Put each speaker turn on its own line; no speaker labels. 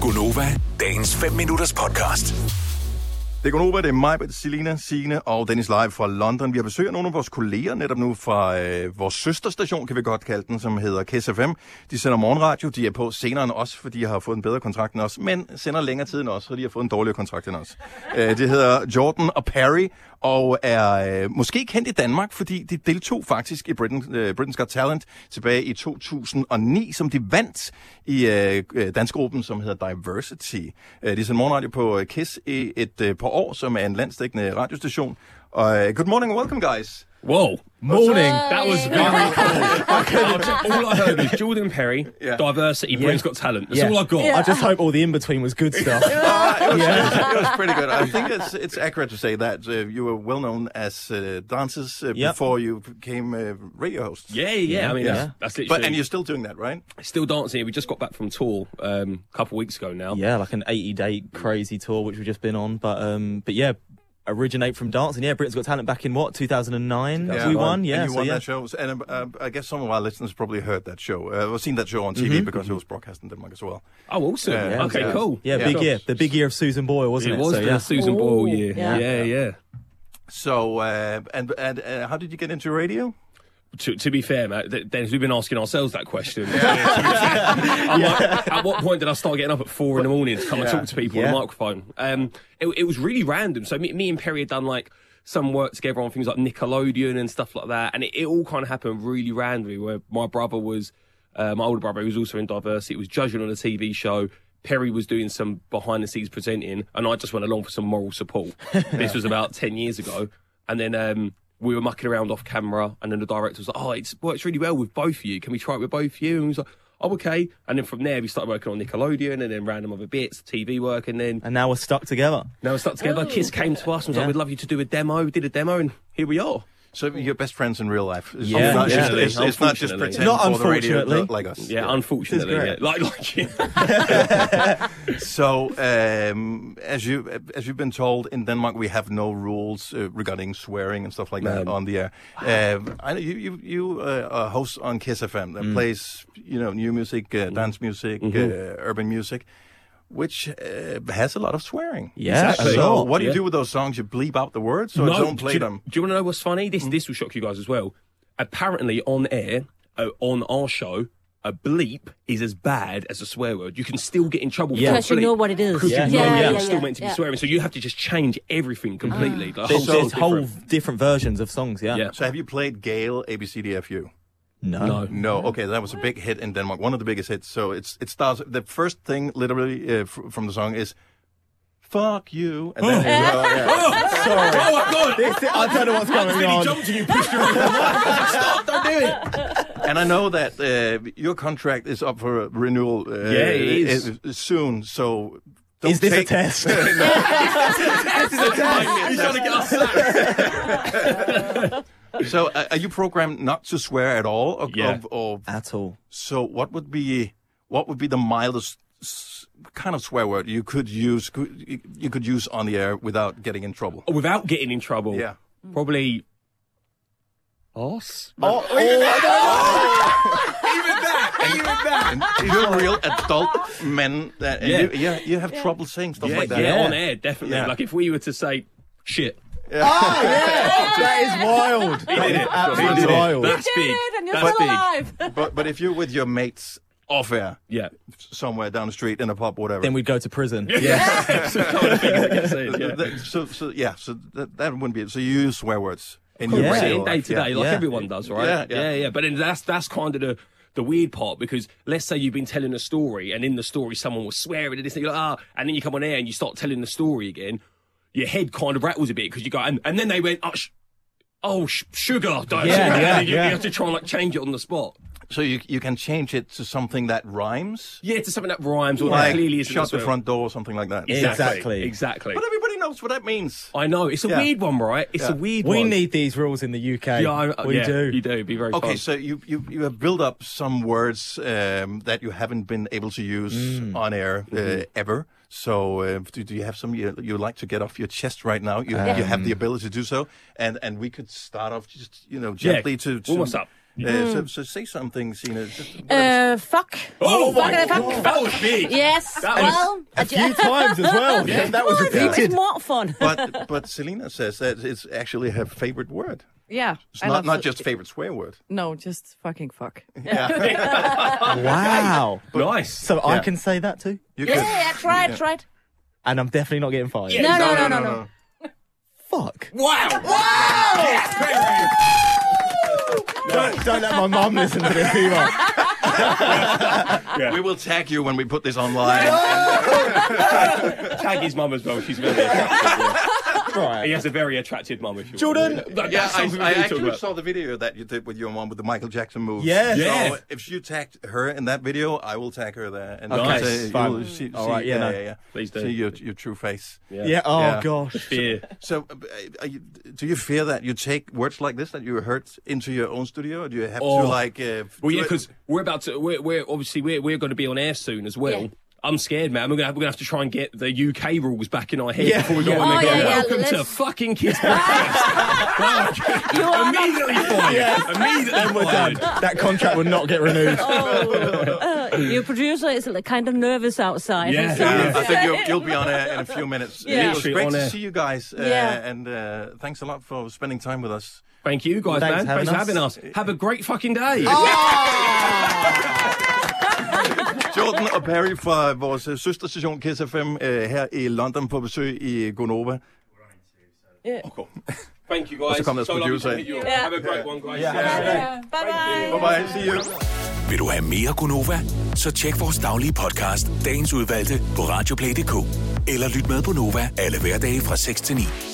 Gunova, dagens 5 minutters podcast.
Det er Gonova, det er mig, Selina, Signe og Dennis live fra London. Vi har besøg af nogle af vores kolleger netop nu fra øh, vores søsterstation, kan vi godt kalde den, som hedder KSFM. De sender morgenradio, de er på senere end os, for de har fået en bedre kontrakt end os, men sender længere tid end os, så de har fået en dårligere kontrakt end os. Øh, det hedder Jordan og Perry, og er øh, måske kendt i Danmark, fordi de deltog faktisk i Britain, øh, Britain's Got Talent tilbage i 2009, som de vandt i øh, øh, dansgruppen, som hedder Diversity. Øh, de sender morgenradio på øh, KISS i et øh, par år, som er en landstækkende radiostation. Og øh, good morning and welcome,
Ah,
guys.
Whoa. Morning. That was
Morning.
very cool. all I heard was Jordan Perry,
Yeah.
diversity, Britain's Got Talent. That's
Yeah.
all I got.
I just hope all the in between was good stuff.
Ah, It was, it was pretty good. I think it's it's accurate to say that uh, you were well known as uh, dancers uh,
Yep.
before you became uh, radio hosts.
Yeah, yeah, yeah. I mean,
Yeah.
That's, that's literally.
But and you're still doing that, right?
still dancing. We just got back from tour um, a couple weeks ago now.
yeah, like an 80 day crazy tour which we've just been on, but um, but yeah, originate from dancing. Yeah, Britain's Got Talent back in what 2009 we won. Yeah,
and you
so
won
yeah.
that show, and uh, I guess some of our listeners probably heard that show uh, or seen that show on TV
Mm-hmm.
because it was broadcast in Denmark as well.
Oh, awesome.
Yeah, yeah,
okay,
yeah.
cool.
Yeah,
Yeah.
big year. The big year of Susan Boyle, wasn't
It
it?
was
so,
the
yeah.
Susan Boyle year.
yeah.
yeah. yeah.
So, uh, and and uh, how did you get into radio?
to, to be fair, Matt, th- Dennis, we've been asking ourselves that question. I'm like, at what point did I start getting up at four in the morning to come and talk to people on
Yeah.
the microphone? Um, it, it was really random. So me, me and Perry had done like some work together on things like Nickelodeon and stuff like that, and it, it all kind of happened really randomly. Where my brother was, uh, my older brother, who was also in diversity, was judging on a TV show. Perry was doing some behind the scenes presenting, and I just went along for some moral support. This was about ten years ago, and then um, we were mucking around off camera, and then the director was like, "Oh, it works really well with both of you. Can we try it with both of you?" And we was like, "Oh, okay." And then from there, we started working on Nickelodeon, and then random other bits, TV work, and then
And now we're stuck together.
now we stuck together. Kiss came to us and was like,
Yeah.
"We'd love you to do a demo." We did a demo, and here we are.
So you're best friends in real life. It's
Yeah.
not just,
Unfortunately.
it's, it's not just
Unfortunately.
pretend
Not
for the radio
unfortunately.
like us.
Yeah, unfortunately, yeah.
It's
like like yeah.
So, um, as you as you've been told in Denmark, we have no rules uh, regarding swearing and stuff like that
No.
on the air. Um, I know you you you uh, are host on Kiss FM that plays you know new music, uh, dance music, uh, urban music, which uh, has a lot of swearing.
Yeah,
Exactly.
a
So
lot.
what do you
Yeah.
do with those songs? You bleep out the words, so don't play
do,
them.
Do you want to know what's funny? This this will shock you guys as well. Apparently, on air, uh, on our show, a bleep is as bad as a swear word. You can still get in trouble for a
Because you
bleep.
know what it is.
Because
Yeah.
you know
Yeah,
you're
yeah,
still
yeah,
meant to be
yeah. Mm.
swearing, so you have to just change everything completely. The
There's,
whole
there's
thing's
whole
different.
different versions of songs. Yeah.
Yeah.
So have you played Gale ABCDFU?
No.
No.
No, okay, that was a big hit in Denmark, one of the biggest hits. So it's it starts. The first thing, literally, uh, f- from the song is "fuck you," and then it's, uh, yeah.
Sorry.
Oh my god!
I don't know what's going
Then he
on.
jumped and you pushed her. Stop! Don't do it.
and I know that uh, your contract is up for renewal. Uh,
Yeah, it is.
uh, soon. So don't
Is this a
take-
test?
He's trying to get us sacked.
So uh, are you programmed not to swear at all? Or,
Yeah.
or, or-
At all.
so what would be what would be the mildest s- kind of swear word you could use could, you- you could use on the air without getting in trouble?
Without getting in trouble.
Yeah.
Probably. Us?
Oh, even that, even that. You're a real adult man. That, yeah.
Yeah.
You, yeah, you have trouble saying stuff
Yeah,
like that.
yeah, on air, definitely.
Yeah.
Like if we were to say shit,
that is wild. That is absolutely
He did it.
wild.
that's
You
big.
did it, and you're
That's
still
big.
alive.
But but if you're with your mates off air,
Yeah.
somewhere down the street in a pub, whatever.
Then we'd go to prison.
So kind of things that get said, yeah.
Th- th- so so yeah, so that, that wouldn't be it. So you use swear words in
Cool.
your
Yeah.
Say
real
it day
life,
to
yeah.
day, like
Yeah.
everyone does, right?
Yeah, yeah.
yeah, But then that's that's kind of the the weird part because let's say you've been telling a story and in the story someone was swearing and this and you're like ah, and then you come on air and you start telling the story again, your head kind of rattles a bit because you go and, and then they went oh, sh- oh sh- sugar, don't
Yeah,
And then
yeah,
you,
yeah.
you have to try and like change it on the spot.
So you you can change it to something that rhymes,
Yeah, to something that rhymes or that
like
clearly isn't a
shut the
swear.
front door or something like that.
Exactly.
Exactly.
Exactly.
But everybody knows what that means.
I know it's a
Yeah.
weird one, right? It's a
Yeah.
weird
We
one.
need these rules in the UK.
Yeah, I-
we
yeah,
do.
You do. It'd be very
Okay,
fun.
so you, you, you have built up some words um, that you haven't been able to use on air uh, ever. So uh, do, do you have some you, you like to get off your chest right now? You, you have the ability to do so, and and we could start off just you know gently to, to
warm us up.
Uh, so, so say something, Sina. Just-
Mm. Uh, fuck.
Oh,
fuck,
my
it, fuck,
God.
fuck.
That was big.
Yes,
That was-
well, I
a
ju-
few times as well. Yeah, that was
It was
repeated.
more fun.
But but Selena says that it's actually her favorite word.
yeah,
It's
I
not
love
not
it.
just favorite swear word.
no, just fucking fuck. Yeah,
Wow.
Nice.
So I
Yeah.
can say that too,
You
yeah,
could-
yeah, try it, try it.
and I'm definitely not getting fired.
No, no, no, no, no.
Fuck.
Wow.
Don't, don't let my mum listen to this either.
We will tag you when we put this online.
Tag his mum as well. She's very attractive. yeah. He
Right.
has a very attractive mum. If you
Jordan,
want. That-
Yeah,
that's
I,
something we
I
need to
actually
talk about.
saw the video that you did with your mom with the Michael Jackson move.
Yes.
So
Yeah.
if you tagged her in that video, I will tag her there. And
Okay,
you'll
fine.
Mm.
you'll see,
All
see-
right, yeah, no.
Please do.
See your, your true face.
Yeah. Oh
Yeah.
gosh.
Fear.
So, uh, are you, do you fear that you take words like this that you heard into your own studio, or do you have
Oh.
to like? Uh,
Well,
do
yeah,
it-
because we're about to. We're, we're obviously we're, we're going to be on air soon as well.
Yeah.
I'm scared, man. We're gonna, have, we're gonna have to try and get the UK rules back in our head
Yeah.
before we go on
Oh,
there.
yeah,
going,
yeah,
Welcome to
let's-
fucking kids. Podcast."
You are not-
immediately fired. Immediately
Then we're done.
fired.
That contract will not get renewed.
Oh, uh, your producer is like, kind of nervous outside.
Yeah.
So- uh,
Yeah, I think you'll, you'll be on air in a few minutes.
Yeah.
It was
Literally
great
on
to
air.
see you guys, uh,
Yeah.
and uh, thanks a lot for spending time with us.
Thank you, guys, man.
Thanks for having
Thanks for having
us.
us. Have a great fucking day.
Jordan og Perry fra vores øh, søsterstation Kiss FM øh, her i London på besøg i Gonova.
Thank you, guys.
så kom deres
lovely to
producer
meet
ind.
you all.
Yeah.
Have a great one, guys.
Yeah. Bye bye.
Bye bye, see you.
Vil du have mere Gunova? Så tjek vores daglige podcast, dagens udvalgte, på radioplay.dk. Eller lyt med på Nova alle hverdage fra 6 til 9.